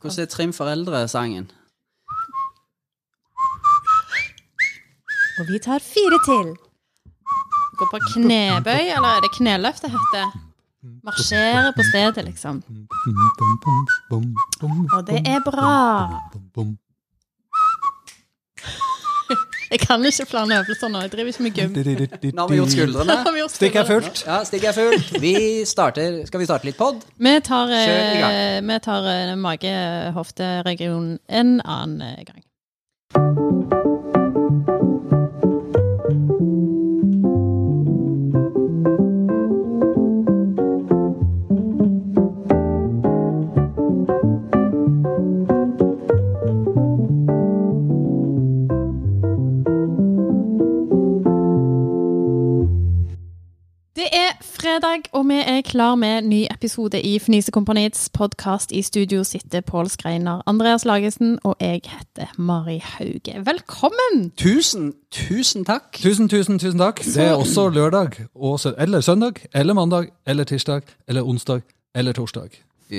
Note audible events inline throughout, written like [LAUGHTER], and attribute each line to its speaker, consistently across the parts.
Speaker 1: Hvordan er Trim foreldre-sangen?
Speaker 2: Og vi tar fire til.
Speaker 3: Gå på knebøy, eller er det kneløft det heter? Marsjere på stedet, liksom. Og det er bra. [LAUGHS] Jeg kan ikke flere øvelser nå. Jeg driver ikke med gym.
Speaker 1: Nå har vi gjort
Speaker 3: [LAUGHS]
Speaker 1: skuldrene.
Speaker 3: Nå har vi gjort
Speaker 4: Stikk er
Speaker 3: skuldrene.
Speaker 4: fullt.
Speaker 1: Ja, stikk er fullt. Vi starter Skal vi starte litt pod?
Speaker 3: Vi tar, eh,
Speaker 1: Kjør i gang.
Speaker 3: vi tar eh, mage-hofte-regionen en annen eh, gang. Det er fredag, og vi er klar med en ny episode i Fnisekompaniets podkast. I studio sitter Pål Skreiner, Andreas Lagesen og jeg heter Mari Hauge. Velkommen!
Speaker 1: Tusen, tusen takk.
Speaker 4: Tusen, tusen, tusen takk. Det er også lørdag, og sø eller søndag, eller mandag, eller tirsdag, eller onsdag, eller torsdag.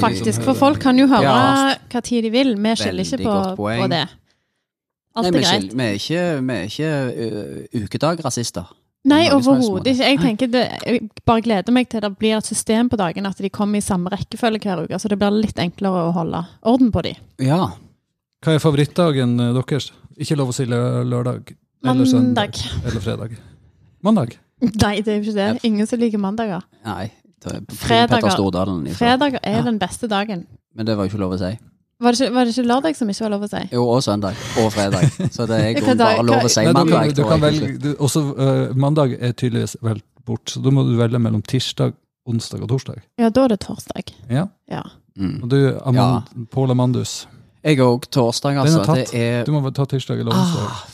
Speaker 3: Faktisk, for folk kan jo høre
Speaker 1: Ja.
Speaker 3: hva tid de vil. Vi skiller ikke
Speaker 1: Veldig
Speaker 3: på,
Speaker 1: godt poeng.
Speaker 3: på det. Alt
Speaker 1: Nei,
Speaker 3: er
Speaker 1: vi
Speaker 3: greit.
Speaker 1: skil- Vi er ikke, vi er ikke ø, ukedagrasister.
Speaker 3: Nei,
Speaker 1: Mange som helst må
Speaker 3: overhodet
Speaker 1: det.
Speaker 3: ikke. Jeg tenker det, jeg bare gleder meg til det blir et system på dagen, at de kommer i samme rekkefølge hver uke. Så det blir litt enklere å holde orden
Speaker 1: [LAUGHS]
Speaker 3: på de.
Speaker 1: Ja.
Speaker 4: Hva er favorittdagen eh, deres? Ikke lov å si lø- lørdag. Eller søndag.
Speaker 3: Mandag.
Speaker 4: Eller fredag. Mandag.
Speaker 3: Nei, det er jo ikke det. Ingen som liker mandager.
Speaker 1: Nei. det er
Speaker 3: Fredager.
Speaker 1: Petter Stordalen. ifra.
Speaker 3: Fredager er
Speaker 1: Ja.
Speaker 3: den beste dagen.
Speaker 1: Men det var jo ikke lov å si.
Speaker 3: Var det, ikke, var det ikke lørdag som ikke var lov å si?
Speaker 1: Jo, og søndag. Og fredag. Så det er i
Speaker 3: Hva
Speaker 1: grunnen
Speaker 3: dag-
Speaker 1: bare lov å si
Speaker 4: Nei, du,
Speaker 1: mandag.
Speaker 4: kan- du
Speaker 1: tror jeg,
Speaker 4: kan velge,
Speaker 1: til slutt.
Speaker 4: du, også, eh, mandag er tydeligvis valgt bort, så da må du velge mellom tirsdag, onsdag og torsdag.
Speaker 3: Ja, da er det torsdag.
Speaker 4: Ja.
Speaker 3: Ja.
Speaker 1: Mm.
Speaker 4: Og du, Amand, Paul Amandus,
Speaker 1: Jeg òg. Torsdag,
Speaker 4: Den er
Speaker 1: altså.
Speaker 4: tatt.
Speaker 1: Det er
Speaker 4: du må ta tirsdag eller onsdag.
Speaker 1: Ah.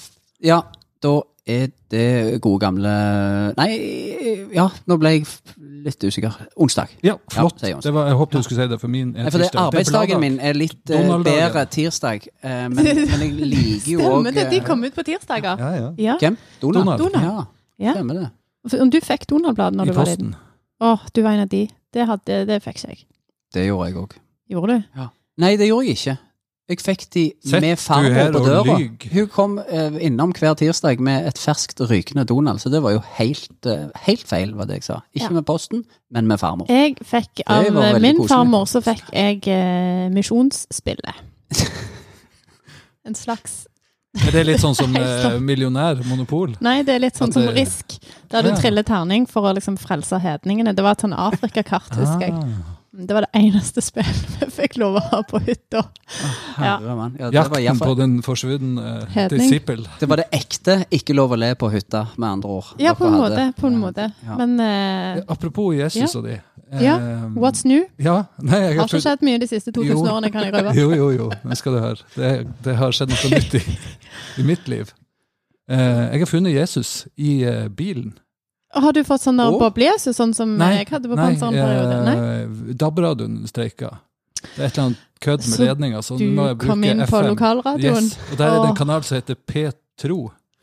Speaker 1: Ja, da er det gode gamle Nei, ja, nå ble jeg f- litt usikker. Onsdag.
Speaker 4: Ja, flott.
Speaker 1: sier Jonsson.
Speaker 4: det var, jeg håpet du skulle si det, for min er
Speaker 1: Nei, for det,
Speaker 4: tirsdag. Det er
Speaker 1: arbeidsdagen
Speaker 4: bladag.
Speaker 1: min er litt eh,
Speaker 4: Donald-dagen.
Speaker 1: bedre tirsdag, eh,
Speaker 3: [LAUGHS]
Speaker 1: men, men jeg liker jo òg
Speaker 3: Stemmer det, de kom ut på tirsdager.
Speaker 4: Ja, ja.
Speaker 3: Ja.
Speaker 1: Hvem? Donald?
Speaker 4: Donald.
Speaker 3: Donald.
Speaker 1: Ja,
Speaker 3: Ja.
Speaker 1: stemmer det.
Speaker 3: For Om du fikk Donald-blad når
Speaker 4: I
Speaker 3: du var liten?
Speaker 4: posten.
Speaker 3: Å, du var en av de. Det, hadde, det fikk ikke jeg.
Speaker 1: Det gjorde jeg òg.
Speaker 3: Gjorde du?
Speaker 1: Nei, det gjorde jeg ikke. Jeg fikk de
Speaker 4: Sett
Speaker 1: med
Speaker 4: du her
Speaker 1: farmor på
Speaker 4: og
Speaker 1: døra.
Speaker 4: lyg.
Speaker 1: Hun kom eh, innom hver tirsdag med et ferskt rykende Donald, så det var jo helt, eh, helt feil, var det jeg sa. Ikke
Speaker 3: Ja.
Speaker 1: med posten, men med farmor.
Speaker 3: Jeg fikk av eh,
Speaker 1: var veldig
Speaker 3: min
Speaker 1: koselig.
Speaker 3: farmor så fikk jeg eh, misjonsspillet. En slags
Speaker 4: Er det litt sånn
Speaker 3: [LAUGHS]
Speaker 4: som
Speaker 3: Helt
Speaker 4: eh, millionærmonopol?
Speaker 3: Nei, det er litt sånn
Speaker 4: At
Speaker 3: som
Speaker 4: det-
Speaker 3: Risk, der du
Speaker 4: Ja.
Speaker 3: triller terning for å liksom frelse hedningene. Det var et sånn Afrikakart, husker jeg. Det var det eneste spillet vi fikk lov å ha på hytta. Ja.
Speaker 1: Herre mann. Ja, det, var i hvert
Speaker 4: Jakten på
Speaker 1: fall-
Speaker 4: den forsvunne eh,
Speaker 3: Hedning.
Speaker 4: disippel.
Speaker 1: det var det ekte ikke lov å le på hytta, med andre ord.
Speaker 3: Ja, på en
Speaker 1: Dere hadde-
Speaker 3: måte. På en måte.
Speaker 1: Ja.
Speaker 3: Men eh,
Speaker 4: Apropos Jesus og de. eh,
Speaker 3: Ja, what's new?
Speaker 4: ja, nei,
Speaker 3: Har
Speaker 4: jeg har
Speaker 3: ikke
Speaker 4: trodd-
Speaker 3: skjedd mye de siste 2000
Speaker 4: Jo.
Speaker 3: årene, kan jeg røpe.
Speaker 4: Jo, jo, jo. Nå skal du høre. Det, det har skjedd noe nytt i,
Speaker 3: [LAUGHS]
Speaker 4: i mitt liv. Eh, jeg har funnet Jesus i eh, bilen.
Speaker 3: Har du fått sånn der
Speaker 1: Å.
Speaker 3: boblejesus, sånn som jeg hadde på panserperiode? Nei.
Speaker 4: eh, DAB-radioen streika. Det er et eller annet kødd med
Speaker 3: Så
Speaker 4: ledninga, så
Speaker 3: Du
Speaker 4: nå må jeg bruke
Speaker 3: kom inn på
Speaker 4: FM.
Speaker 3: lokalradioen.
Speaker 4: Yes. Og der er det
Speaker 3: Åh.
Speaker 4: en kanal som heter Petro.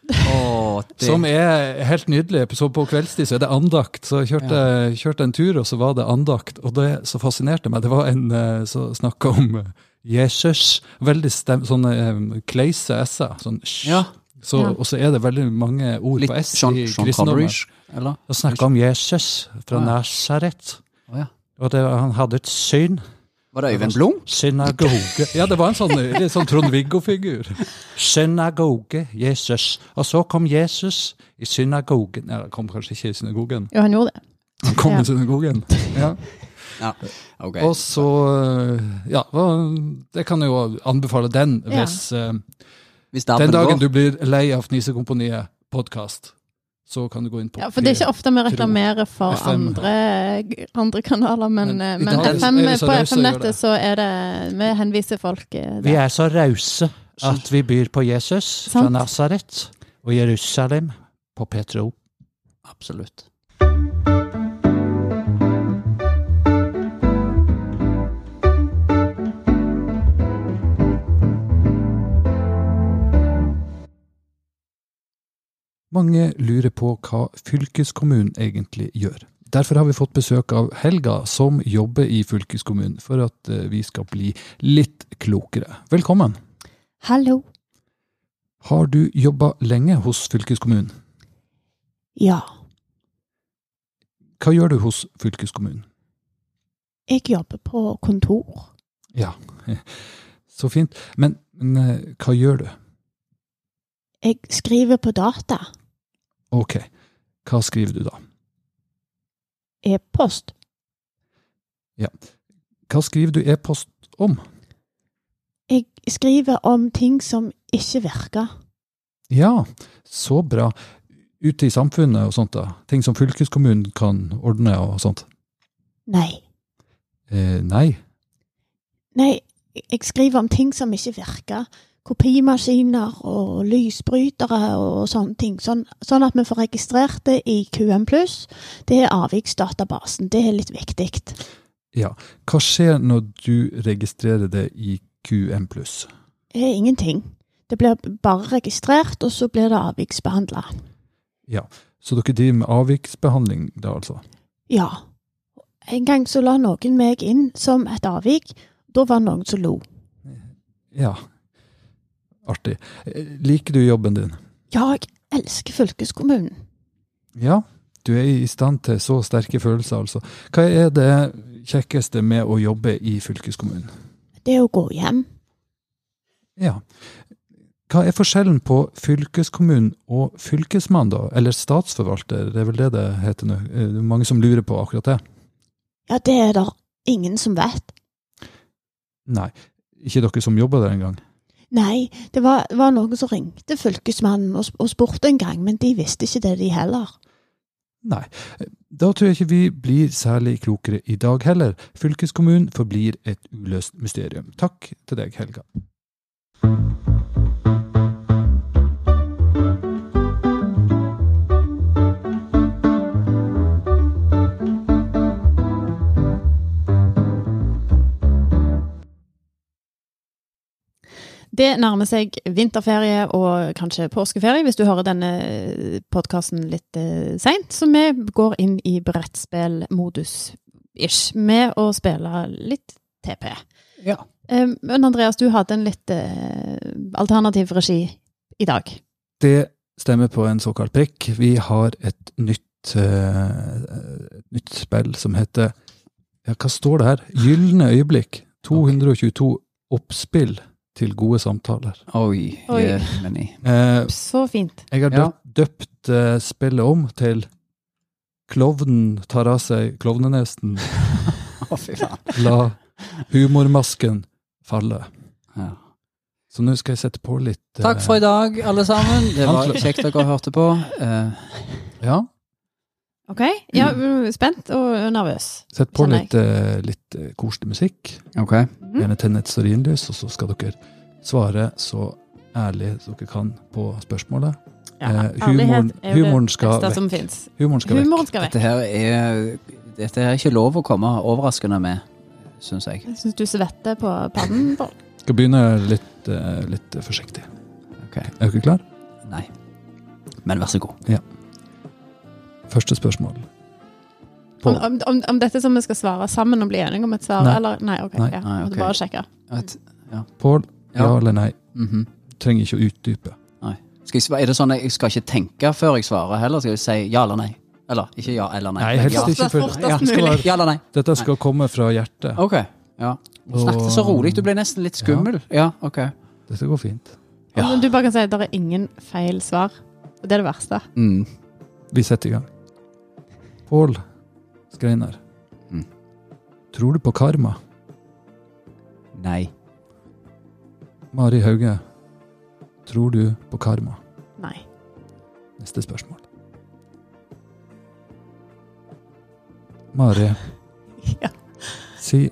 Speaker 1: Å, det-
Speaker 4: [LAUGHS] Som er helt nydelig. Så på kveldstid så er det andakt. Så jeg kjørte, kjørte en tur, og så var det andakt. Og det som fascinerte meg, det var en eh, som snakka om eh, Jesus. Veldig stem, sånne eh, kleise s-er. Sånn sj.
Speaker 1: Ja.
Speaker 4: Så,
Speaker 3: Ja.
Speaker 4: Og så er det veldig mange ord
Speaker 1: Litt
Speaker 4: på s
Speaker 1: Sean,
Speaker 4: i
Speaker 1: Sean Connery,
Speaker 4: kristendommen.
Speaker 1: eller?
Speaker 4: Og snakka om Jesus fra
Speaker 1: Ja.
Speaker 4: Nasaret.
Speaker 1: Å, ja.
Speaker 4: Og det, han hadde et syn.
Speaker 1: Var det Øyvind Blom?
Speaker 4: Synagoge. Ja, det var en sånn, litt sånn
Speaker 1: [LAUGHS]
Speaker 4: Trond-Viggo-figur. Synagoge, Jesus. Og så kom Jesus i synagogen. Nei, han kom kanskje ikke i synagogen.
Speaker 3: Jo, han gjorde det.
Speaker 4: Han kom
Speaker 3: Ja.
Speaker 4: i synagogen. Ja.
Speaker 1: Ja, ok.
Speaker 4: Og så eh, Ja, og det kan jeg jo anbefale den
Speaker 3: Ja.
Speaker 4: hvis eh,
Speaker 1: Hvis dampen
Speaker 4: Den
Speaker 1: går.
Speaker 4: dagen du blir lei av Fnisekompaniet podkast, så kan du gå inn på
Speaker 3: Ja, for det er ikke ofte vi reklamerer for
Speaker 4: FM.
Speaker 3: andre, eh, andre kanaler, men,
Speaker 4: Men
Speaker 3: eh,
Speaker 4: i
Speaker 3: men
Speaker 4: dag
Speaker 3: FM,
Speaker 4: er vi så
Speaker 3: på
Speaker 4: rause og gjør
Speaker 3: FM-nettet
Speaker 4: det.
Speaker 3: så er det Vi henviser folk eh,
Speaker 4: Vi
Speaker 3: der.
Speaker 4: er så rause at vi byr på Jesus fra
Speaker 3: Sant.
Speaker 4: Nasaret og Jerusalem på Petro.
Speaker 1: Absolutt.
Speaker 4: Mange lurer på hva fylkeskommunen egentlig gjør. Derfor har vi fått besøk av Helga, som jobber i fylkeskommunen, for at eh, vi skal bli litt klokere. Velkommen.
Speaker 5: Hallo.
Speaker 4: Har du jobba lenge hos fylkeskommunen?
Speaker 5: Ja,
Speaker 4: Hva gjør du hos fylkeskommunen?
Speaker 5: jeg jobber på kontor.
Speaker 4: Ja, så fint. Men, men eh, hva gjør du?
Speaker 5: Jeg skriver på data.
Speaker 4: Ok, hva skriver du da?
Speaker 5: E-post.
Speaker 4: Hva skriver du e-post om?
Speaker 5: Jeg skriver om ting som ikke virker.
Speaker 4: Ja, så bra. Ute i samfunnet og sånt da. Ting som fylkeskommunen kan ordne og sånt.
Speaker 5: Nei.
Speaker 4: Eh, nei.
Speaker 5: Nei, jeg skriver om ting som ikke virker. Kopimaskiner og lysbrytere og sånne ting. Sånn, sånn at vi får registrert det i QM+. Det er avviksdatabasen. Det er litt viktig.
Speaker 4: Hva skjer når du registrerer det i QM+.
Speaker 5: Det er ingenting. Det blir bare registrert, og så blir det avviksbehandla.
Speaker 4: Så dere driver med avviksbehandling da, altså?
Speaker 5: Ja. En gang så la noen meg inn som et avvik. Da var det noen som lo.
Speaker 4: Ja. Artig. Eh, Liker du jobben din?
Speaker 5: Ja, jeg elsker fylkeskommunen.
Speaker 4: Ja. Du er i stand til så sterke følelser, altså. Hva er det kjekkeste med å jobbe i fylkeskommunen?
Speaker 5: Det å gå hjem.
Speaker 4: Ja. Hva er forskjellen på fylkeskommunen og fylkesmann, da? Eller statsforvalter, det er vel det det heter nå. Eh, Det er mange som lurer på akkurat det.
Speaker 5: Ja, det er det ingen som vet.
Speaker 4: Nei, ikke dere som jobber der engang.
Speaker 5: Nei, det var, det var noen som ringte fylkesmannen og, og spurte en gang, men de visste ikke det, de heller.
Speaker 4: Nei, da tror jeg ikke vi blir særlig klokere i dag heller. Fylkeskommunen forblir et uløst mysterium. Takk til deg, Helga.
Speaker 3: Det nærmer seg vinterferie og kanskje påskeferie, hvis du hører denne podkasten litt eh, seint. Så vi går inn i brettspillmodus-ish, med å spille litt TP.
Speaker 1: Ja.
Speaker 3: Eh, Men Andreas, du hadde en litt eh, alternativ regi i dag.
Speaker 4: Det stemmer på en såkalt prikk. Vi har et nytt, eh, et nytt spill som heter ja, Hva står det her? Gylne øyeblikk. 222 oppspill til gode samtaler.
Speaker 1: Oi.
Speaker 3: Oi.
Speaker 1: eh, men i-
Speaker 4: Eh,
Speaker 3: Så fint.
Speaker 4: jeg har
Speaker 1: Ja.
Speaker 4: døpt, døpt eh, spillet om til Klovnen tar av seg klovnenesten,
Speaker 1: Å, fy faen.
Speaker 4: la humormasken falle.
Speaker 1: Ja.
Speaker 4: Så nå skal jeg sette på litt eh,
Speaker 1: Takk for i dag, alle sammen. Det var
Speaker 4: Hantle.
Speaker 1: kjekt dere hørte på. Eh,
Speaker 4: Ja,
Speaker 3: Ok? Ja,
Speaker 4: Mm.
Speaker 3: spent og nervøs.
Speaker 4: sett på
Speaker 3: Kjenner jeg.
Speaker 4: litt, eh, litt eh, koselig musikk.
Speaker 1: ok.
Speaker 3: Mm.
Speaker 4: Gjerne tenne et stearinlys, og så skal dere svare så ærlig dere kan på spørsmålet.
Speaker 3: Ja,
Speaker 4: Eh,
Speaker 3: ærlighet er jo
Speaker 4: humoren
Speaker 3: det
Speaker 4: skal
Speaker 3: beste
Speaker 4: vekk.
Speaker 3: som fins.
Speaker 4: Humoren skal vekk.
Speaker 3: Humoren skal vekk.
Speaker 1: Dette her er Dette er ikke lov å komme overraskende med, syns jeg.
Speaker 3: Jeg syns du svetter på pannen. Bård.
Speaker 4: Skal begynne litt, eh, litt forsiktig.
Speaker 1: Ok.
Speaker 4: Er dere klar?
Speaker 1: Nei. Men vær så god.
Speaker 4: Første spørsmål.
Speaker 3: Om,
Speaker 4: På.
Speaker 3: om, om, om dette som vi skal svare sammen og bli enige om et svar,
Speaker 4: Nei.
Speaker 3: eller Nei, ok.
Speaker 4: Nei.
Speaker 3: ja,
Speaker 1: Nei,
Speaker 3: måtte
Speaker 1: ok.
Speaker 3: Bare sjekke.
Speaker 1: Et,
Speaker 4: Pål, ja.
Speaker 1: ja.
Speaker 4: eller nei?
Speaker 1: Mhm.
Speaker 4: Trenger ikke å utdype.
Speaker 1: Skal jeg, svare- er det sånn at jeg skal ikke tenke før jeg svarer heller? Skal jeg si ja eller nei? Eller ikke ja eller nei.
Speaker 4: Nei,
Speaker 1: men
Speaker 4: helst
Speaker 1: ja.
Speaker 4: ikke. for-
Speaker 3: Fortest
Speaker 4: Ja, skal
Speaker 3: mulig.
Speaker 4: være-
Speaker 1: Ja eller nei.
Speaker 4: Dette skal komme fra hjertet.
Speaker 1: Ok. Ja. Du snakket så rolig. Du ble nesten litt skummel. Ja, ok.
Speaker 4: Dette går fint.
Speaker 1: Ja.
Speaker 3: Men Du bare kan si at det er ingen feil svar. Det er det verste.
Speaker 1: Mm.
Speaker 4: Vi setter i gang. Pål Skreinar.
Speaker 1: Mm.
Speaker 4: Tror du på karma?
Speaker 1: Nei.
Speaker 4: Mari Hauge. Tror du på karma?
Speaker 3: Nei. [LAUGHS]
Speaker 4: Neste spørsmål. Mari,
Speaker 5: Ja.
Speaker 4: si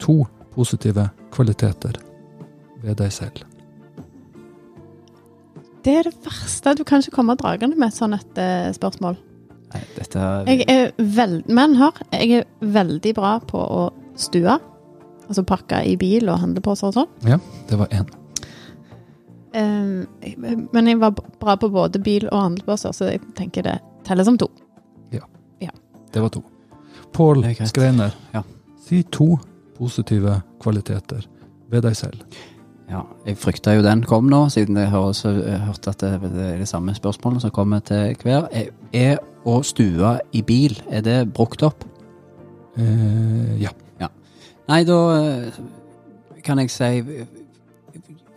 Speaker 4: to positive kvaliteter ved deg selv.
Speaker 3: Det er det verste. Du kan ikke komme dragende med et sånt et, eh, spørsmål.
Speaker 1: nei dette
Speaker 3: Jeg er veld... Men hør, jeg er veldig bra på å stue. Altså pakke i bil og handleposer og sånn.
Speaker 4: Det var én.
Speaker 3: Eh, men jeg var b- bra på både bil og handleposer, så jeg tenker det teller som to.
Speaker 4: Det var to. Pål
Speaker 1: Det er greit.
Speaker 4: Skreiner,
Speaker 1: Ja.
Speaker 4: si to positive kvaliteter ved deg selv.
Speaker 1: Ja, jeg frykta jo den kom nå, siden jeg har også eh, hørt at det det er de samme spørsmålene som kommer til hver. Er- Er å stue i bil, er det brukt opp?
Speaker 4: Eh, ja.
Speaker 1: Nei, da eh, kan jeg si eh,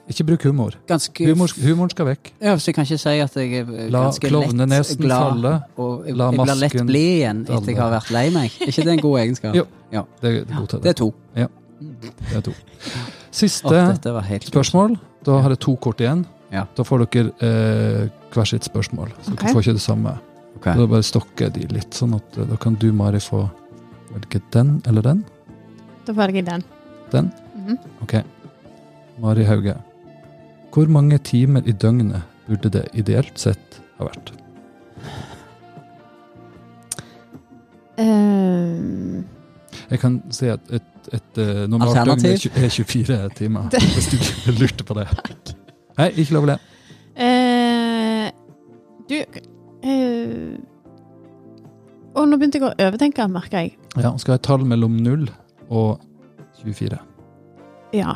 Speaker 4: Ikke bruk humor.
Speaker 1: ganske
Speaker 4: Humor, humoren skal vekk.
Speaker 1: Ja, så jeg kan ikke si at jeg er eh,
Speaker 4: La
Speaker 1: ganske lett
Speaker 4: klovnenesen
Speaker 1: glad.
Speaker 4: falle.
Speaker 1: Og jeg,
Speaker 4: La
Speaker 1: jeg blir lett
Speaker 4: masken
Speaker 1: blid igjen etter
Speaker 4: falle.
Speaker 1: jeg har vært lei meg. Er ikke det en god egenskap?
Speaker 4: [LAUGHS] Jo. Det er god til
Speaker 1: Det
Speaker 4: det.
Speaker 1: er to.
Speaker 4: Det er to.
Speaker 1: Å,
Speaker 4: Siste
Speaker 1: dette var helt
Speaker 4: spørsmål. Da har jeg to kort igjen.
Speaker 1: Ja.
Speaker 4: Da får dere eh, hver sitt spørsmål. Så
Speaker 3: Ok.
Speaker 4: dere får ikke det samme.
Speaker 1: Ok.
Speaker 4: Da bare stokker jeg de litt, sånn at eh, da kan du, Mari, få velge den eller den.
Speaker 6: Da velger jeg den.
Speaker 4: Den.
Speaker 6: Mhm.
Speaker 4: Ok. Mari Hauge. Hvor mange timer i døgnet burde det ideelt sett ha vært?
Speaker 3: Eh,
Speaker 4: Jeg kan si at et, et, eh, normalt døgn er
Speaker 1: Alternativ?
Speaker 4: tju- er 24
Speaker 3: [LAUGHS]
Speaker 4: timer, hvis du [LAUGHS] lurte på det. Nei, ikke lov å le.
Speaker 6: Eh,
Speaker 3: du eh, Å, nå begynte jeg å overtenke, merker jeg.
Speaker 4: Ja, man skal ha et tall mellom 0 og 24.
Speaker 3: Ja.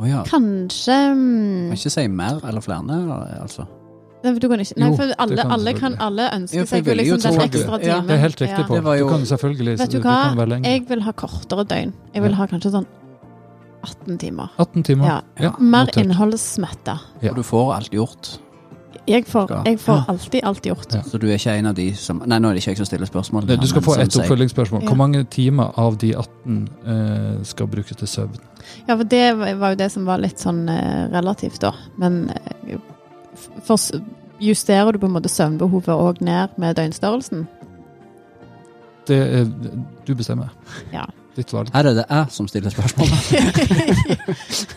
Speaker 1: Å ja.
Speaker 3: Kanskje mm,
Speaker 1: Kan ikke si mer eller flere, eller, altså.
Speaker 3: Nei, du kan ikke Nei,
Speaker 4: Jo,
Speaker 3: for
Speaker 4: det
Speaker 3: alle kan,
Speaker 4: kan du
Speaker 3: alle, kan,
Speaker 4: selvfølgelig.
Speaker 3: alle
Speaker 1: Jo,
Speaker 3: ønsker
Speaker 1: for jeg ville jo tro
Speaker 3: seg jo liksom den
Speaker 1: at du-
Speaker 3: ekstra
Speaker 1: ja,
Speaker 3: timen.
Speaker 4: Det er helt riktig,
Speaker 3: Ja.
Speaker 4: Pål.
Speaker 1: Det var jo-
Speaker 4: Du kan jo selvfølgelig
Speaker 3: Vet du
Speaker 4: du kan
Speaker 3: hva?
Speaker 4: være lenge.
Speaker 3: Jeg vil ha kortere døgn. Jeg
Speaker 4: Ja.
Speaker 3: vil ha kanskje sånn 18 timer.
Speaker 4: 18 timer.
Speaker 3: Ja.
Speaker 1: Ja.
Speaker 3: Mer
Speaker 4: notert.
Speaker 3: innholdsmetta.
Speaker 4: Ja.
Speaker 1: Og du får alt gjort.
Speaker 3: Jeg får,
Speaker 1: Skal.
Speaker 3: jeg får
Speaker 4: Ja.
Speaker 3: alltid alt gjort.
Speaker 4: Ja.
Speaker 1: Så du er ikke en av de som Nei, nå er det ikke jeg som stiller spørsmål.
Speaker 4: Du skal få
Speaker 1: Men sånn
Speaker 4: et
Speaker 1: som sier-
Speaker 4: oppfølgingsspørsmål.
Speaker 3: Ja.
Speaker 4: Hvor mange timer av de 18 eh, skal brukes til søvn?
Speaker 3: Ja, for det var jo det som var litt sånn eh, relativt, da. Men eh, f- for, s- justerer du på en måte søvnbehovet òg ned
Speaker 1: [LAUGHS]
Speaker 3: med døgnstørrelsen?
Speaker 4: Det er, du bestemmer.
Speaker 3: Ja.
Speaker 4: Ditt valg.
Speaker 1: Her er det jeg som stiller spørsmål. [LAUGHS]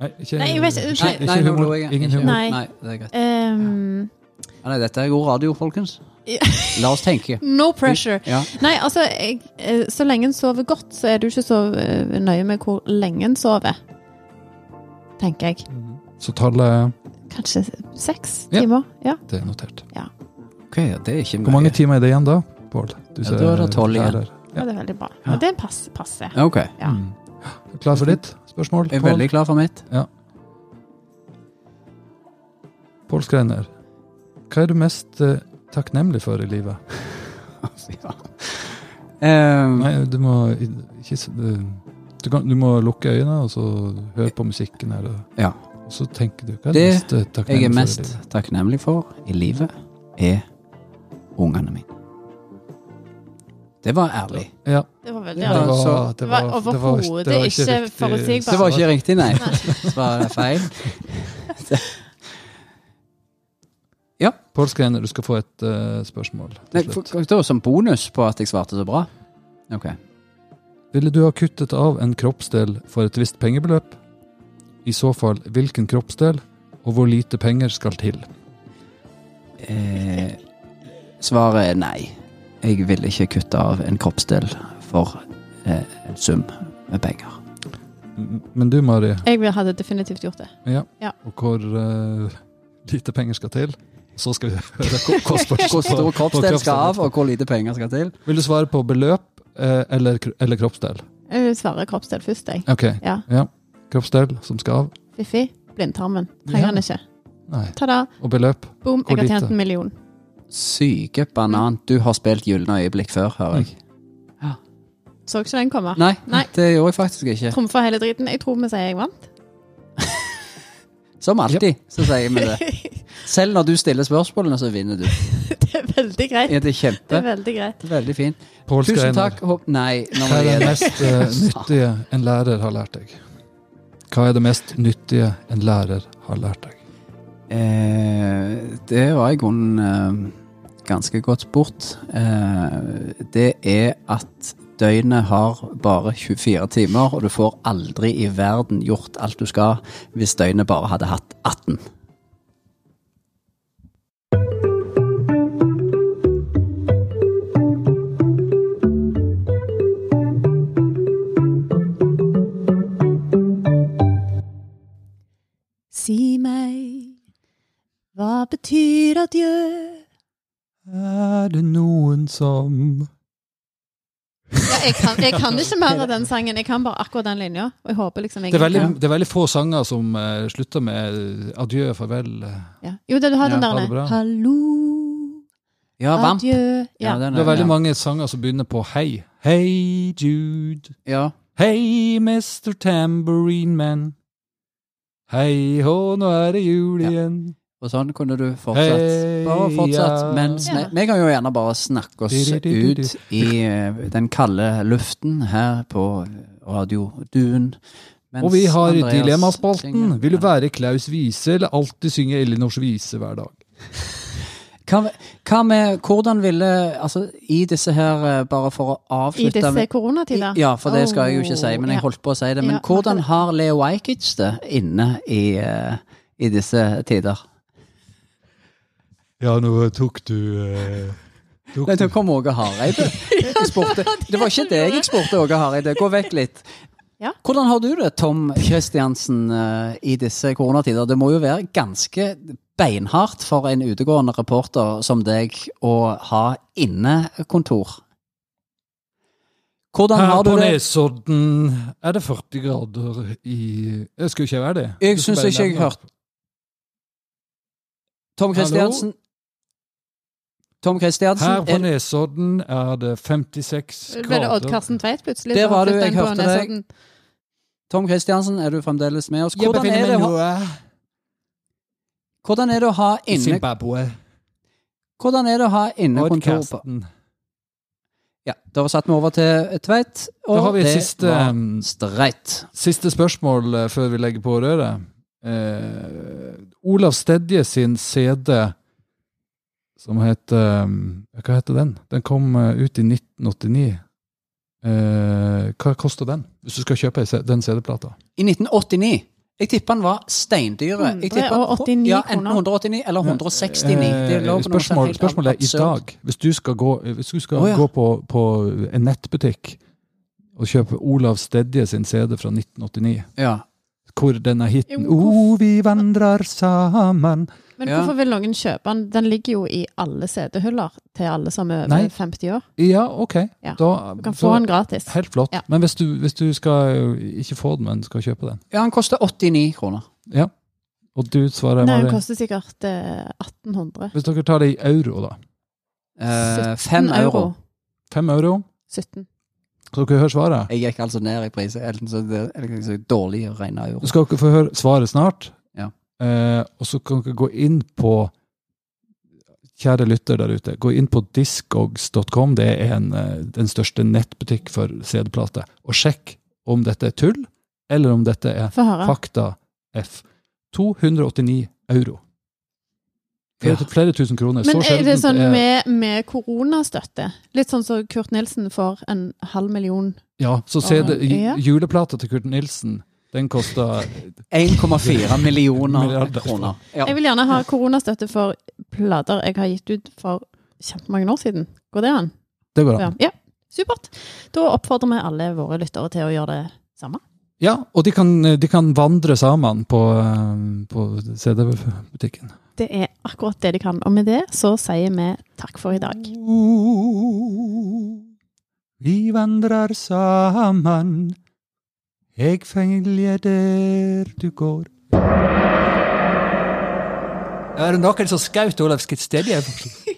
Speaker 4: Nei, ikke,
Speaker 6: Nei, jeg vet ikke-
Speaker 4: ikke, ikke
Speaker 1: nå
Speaker 4: humor.
Speaker 1: lo jeg.
Speaker 4: Ingen
Speaker 1: Ikke-
Speaker 4: humor.
Speaker 6: Nei.
Speaker 1: Nei, det er greit.
Speaker 6: ehm,
Speaker 1: Ja, Nei, dette er god radio, folkens.
Speaker 6: Ja.
Speaker 1: La oss tenke.
Speaker 6: no pressure.
Speaker 1: Ja.
Speaker 6: Nei, altså,
Speaker 3: Jeg, eh, så lenge en sover godt, så er du ikke så eh, nøye med hvor lenge en sover. Tenker jeg.
Speaker 4: Mhm. Så tallet
Speaker 3: Kanskje seks
Speaker 4: Ja.
Speaker 3: timer? Ja.
Speaker 4: Det er notert.
Speaker 1: Ok, ja, det er ikke
Speaker 4: Hvor mange timer er det igjen da, Pål? Du
Speaker 1: Ja,
Speaker 4: ser-
Speaker 1: da er det 12 igjen.
Speaker 4: lærer.
Speaker 3: ja. Det er veldig bra.
Speaker 1: Ja.
Speaker 3: Og det er pass, passe.
Speaker 1: Ja, Ok.
Speaker 3: Ja.
Speaker 4: Mm. Klar for ditt spørsmål,
Speaker 1: Jeg er
Speaker 4: Pål?
Speaker 1: veldig klar for mitt.
Speaker 4: Pål Skreiner. Hva er du mest eh, takknemlig for i livet?
Speaker 1: [LAUGHS] Ja. Ehm,
Speaker 4: Nei, du må i- ikke s- du, kan, du må lukke øynene og så høre på musikken her. og-
Speaker 1: Ja.
Speaker 4: Og så tenker du hva er
Speaker 1: Det
Speaker 4: det meste takknemlig
Speaker 1: jeg er
Speaker 4: for i
Speaker 1: mest
Speaker 4: livet?
Speaker 1: takknemlig for i livet, er ungene mine. Det var ærlig.
Speaker 4: Ja.
Speaker 3: Det var veldig
Speaker 1: Ja,
Speaker 4: Det
Speaker 1: så-
Speaker 4: var, det
Speaker 3: det
Speaker 4: var,
Speaker 3: var
Speaker 4: det var- det var
Speaker 3: overhodet ikke
Speaker 4: riktig
Speaker 3: forutsigbart.
Speaker 1: Det var
Speaker 4: svar.
Speaker 1: ikke riktig, nei. [LAUGHS] Det var feil.
Speaker 4: Pål Skreiner, du skal få et eh, spørsmål
Speaker 1: Nei,
Speaker 4: til slutt.
Speaker 1: for- da, som bonus på at jeg svarte så bra. Ok.
Speaker 4: Ville du ha kuttet av en kroppsdel for et visst pengebeløp? I så fall, hvilken kroppsdel, og hvor lite penger skal til?
Speaker 1: Eh, svaret er nei. Jeg vil ikke kutte av en kroppsdel for eh, en sum med penger.
Speaker 4: M- Men du, Mari,
Speaker 3: Jeg vil- hadde definitivt gjort det.
Speaker 4: og hvor eh, lite penger skal til? Så skal vi høre [LAUGHS] hva- hva spørsmålet
Speaker 1: Hvor stor
Speaker 4: på- på
Speaker 1: kroppsdel skal
Speaker 4: kroppsdelen
Speaker 1: av, og hvor lite penger skal til?
Speaker 4: Vil du svare på beløp eh, eller, kro- eller kroppsdel?
Speaker 3: Jeg vil svare kroppsdel først, jeg.
Speaker 4: Ok,
Speaker 3: Ja.
Speaker 4: kroppsdel som skal av.
Speaker 3: Fiffi. Blindtarmen. Trenger
Speaker 4: Ja.
Speaker 3: den ikke.
Speaker 4: Nei,
Speaker 3: Ta da.
Speaker 4: og beløp.
Speaker 3: Boom, jeg
Speaker 4: Hvor
Speaker 3: har
Speaker 4: lite?
Speaker 3: tjent en million.
Speaker 1: Syke banan. Du har spilt Gylne øyeblikk før, hører jeg.
Speaker 3: Så ikke den komme.
Speaker 1: Nei,
Speaker 3: Ah, Nei.
Speaker 1: det gjorde jeg faktisk ikke.
Speaker 3: Trumfa hele driten. Jeg tror vi sier jeg vant.
Speaker 1: Som alltid, så sier vi
Speaker 3: [LAUGHS]
Speaker 1: det. Selv når du stiller spørsmålene, så vinner du.
Speaker 3: Det er veldig greit.
Speaker 1: Er det
Speaker 3: Det er
Speaker 1: kjempe?
Speaker 3: veldig greit.
Speaker 1: Veldig fint.
Speaker 4: Pål
Speaker 1: Tusen
Speaker 4: Skreiner,
Speaker 1: takk. Håp Nei, nå
Speaker 4: Hva
Speaker 1: må
Speaker 4: er
Speaker 1: jeg
Speaker 4: det
Speaker 1: gi deg.
Speaker 4: mest [LAUGHS]
Speaker 1: [LAUGHS]
Speaker 4: eh, nyttige en lærer har lært deg? Hva er det mest nyttige en lærer har lært deg?
Speaker 1: Eh, det var i grunnen eh, ganske godt spurt. Eh, det er at døgnet har bare 24 timer, og du får aldri i verden gjort alt du skal hvis døgnet bare hadde hatt 18.
Speaker 3: Si meg, hva betyr adjø?
Speaker 4: Er er det noen som
Speaker 3: Ja, jeg, kan, jeg kan ikke mer
Speaker 1: [LAUGHS]
Speaker 3: av den sangen. Jeg kan bare akkurat den linja. Og jeg håper liksom jeg
Speaker 4: Det er veldig, det er veldig få sanger som eh, slutter med eh, adjø, farvel.
Speaker 3: ja. Jo, det du har den
Speaker 4: Ja, ha det
Speaker 3: der
Speaker 4: bra.
Speaker 3: nede. Hallo,
Speaker 1: Ja, Vamp.
Speaker 3: adjø
Speaker 1: Ja,
Speaker 3: ja.
Speaker 1: den
Speaker 4: Det er veldig
Speaker 1: ja.
Speaker 4: mange sanger som begynner på hei. Hei, Jude.
Speaker 1: Ja.
Speaker 4: Hei, Mr. Tambourine Man. Hei hå, nå er det jul
Speaker 1: Ja.
Speaker 4: igjen.
Speaker 1: Og sånn kunne du fortsatt.
Speaker 4: Hei,
Speaker 1: Bare fortsatt.
Speaker 4: ja.
Speaker 1: Mens vi,
Speaker 3: Ja.
Speaker 1: vi kan jo gjerne bare snakke oss
Speaker 4: Du-du-du-du-du.
Speaker 1: ut i eh, den kalde luften her på Radio Duen. Mens
Speaker 4: Og vi har
Speaker 1: Andreas
Speaker 4: Dilemmaspalten.
Speaker 1: synger.
Speaker 4: Vil du være Klaus Wiese eller alltid synge Elinors vise hver dag?
Speaker 1: Hva, hva med Hvordan ville Altså, i disse her, eh, bare for å
Speaker 3: I
Speaker 1: avslutte
Speaker 3: disse koronatider.
Speaker 1: Ja, for det skal jeg jo ikke si, men jeg
Speaker 3: ja.
Speaker 1: holdt på å si det. Men
Speaker 3: Ja.
Speaker 1: hvordan har Leo Ajkic det inne i, eh, i disse tider?
Speaker 4: Ja, nå tok du eh,
Speaker 1: [LAUGHS] Nei, da kom Åge [LAUGHS] Hareide. Jeg spurte- Det var ikke deg jeg spurte, Åge Hareide. Gå vekk litt.
Speaker 3: Ja.
Speaker 1: Hvordan har du det, Tom Kristiansen, eh, i disse koronatider? Det må jo være ganske beinhardt for en utegående reporter som deg å ha innekontor. Hvordan
Speaker 4: Her
Speaker 1: har
Speaker 4: på
Speaker 1: du det?
Speaker 4: Nesodden er det 40 grader i Jeg skulle ikke være det.
Speaker 1: Jeg
Speaker 4: Du
Speaker 1: synes
Speaker 4: bare
Speaker 1: ikke jeg
Speaker 4: nevne-
Speaker 1: hørte- Tom Kristiansen? Tom
Speaker 4: Her
Speaker 1: Kristiansen,
Speaker 4: på
Speaker 1: er-
Speaker 4: Nesodden er det 56
Speaker 3: Ble det Odd
Speaker 4: grader.
Speaker 3: Karsten Tveit plutselig?
Speaker 1: Det
Speaker 3: som
Speaker 1: var det
Speaker 3: flyttet
Speaker 1: jeg
Speaker 3: inn på
Speaker 1: hørte deg.
Speaker 3: Nesodden?
Speaker 1: Tom Kristiansen, er du fremdeles med oss? Hvordan er det, å- hvordan er det å ha
Speaker 4: i
Speaker 1: inne...
Speaker 4: Zimbabwe.
Speaker 1: Hvordan er det å ha innekontor på
Speaker 4: Podcasten.
Speaker 1: Ja, da satte vi over til Tveit, og
Speaker 4: Da har vi
Speaker 1: det
Speaker 4: siste,
Speaker 1: var
Speaker 4: um,
Speaker 1: streit.
Speaker 4: Siste spørsmål eh, før vi legger på røret. Eh, Olav Stedje sin CD som heter eh, Hva heter den? Den kom eh, ut i 1989. Eh, hva koster den, hvis du skal kjøpe ei C- den CD-plata?
Speaker 1: I 1989. Jeg tipper den var steindyre. Jeg tipper den-
Speaker 3: 189
Speaker 1: ja, enten
Speaker 3: kroner.
Speaker 1: 189 eller 169. Det lå på noe
Speaker 4: Eh,
Speaker 1: sånt
Speaker 4: Spørsmål,
Speaker 1: helt
Speaker 4: spørsmålet er i
Speaker 1: absurd.
Speaker 4: dag. Hvis du skal gå, eh, hvis du skal
Speaker 1: Å, ja.
Speaker 4: gå på, på en nettbutikk og kjøpe Olav Stedje sin CD fra 1989,
Speaker 1: Ja.
Speaker 4: hvor denne hiten
Speaker 3: Jo,
Speaker 4: O,
Speaker 3: hvorfor-
Speaker 4: vi vandrar sammen
Speaker 3: Men
Speaker 1: Ja.
Speaker 3: hvorfor vil noen kjøpe den? Den ligger jo i alle CD-hyller til alle som er
Speaker 4: Nei.
Speaker 3: over 50 år.
Speaker 4: Ja, OK.
Speaker 3: Ja.
Speaker 4: Da,
Speaker 3: Du kan få
Speaker 4: da
Speaker 3: den gratis.
Speaker 4: Helt flott.
Speaker 3: Ja.
Speaker 4: Men hvis du, hvis du skal eh, ikke få den, men skal kjøpe den,
Speaker 1: ja, han koster 89 kroner.
Speaker 4: Ja. og du svarer
Speaker 3: Nei, den
Speaker 4: Mari
Speaker 3: koster sikkert eh, 1800.
Speaker 4: Hvis dere tar det i euro, da.
Speaker 1: Eh, Fem euro.
Speaker 4: Fem euro.
Speaker 3: 17.
Speaker 4: Så dere hører svaret.
Speaker 1: Jeg gikk altså ned i pris. Enten så det er liksom så dårlig å regne euro.
Speaker 4: Nå skal dere få høre svaret snart.
Speaker 1: Ja.
Speaker 4: Eh, og så kan dere gå inn på Kjære lytter der ute, gå inn på discogs.com. Det er en, eh, den største nettbutikk for CD-plater. Og sjekk om dette er tull, eller om dette er
Speaker 3: Få høre.
Speaker 4: fakta F. 289 euro. Flere,
Speaker 1: Ja.
Speaker 4: flere tusen kroner.
Speaker 3: Men
Speaker 4: så eh,
Speaker 3: er
Speaker 4: sjeldent
Speaker 3: det sånn
Speaker 4: er-
Speaker 3: med, med koronastøtte? Litt sånn som Kurt Nilsen får en halv million.
Speaker 4: Ja, så CD,
Speaker 3: Ja.
Speaker 4: juleplata til Kurt Nilsen, den kosta
Speaker 1: 1,4 millioner
Speaker 4: [LAUGHS] Milliarder.
Speaker 1: kroner. Ja.
Speaker 3: Jeg vil gjerne ha koronastøtte for plater jeg har gitt ut for kjempemange år siden. Går det an?
Speaker 4: Det går an.
Speaker 3: Ja. ja. Supert. Da oppfordrer vi alle våre lyttere til å gjøre det samme.
Speaker 4: Ja, og de kan, eh, de kan vandre sammen på, eh, på CD-butikken.
Speaker 3: Det er akkurat det de kan. Og med det så sier vi takk for i dag.
Speaker 4: Vi vandrer sammen, jeg følger der du går. Er det noen som skjøt Olav Skidstedje?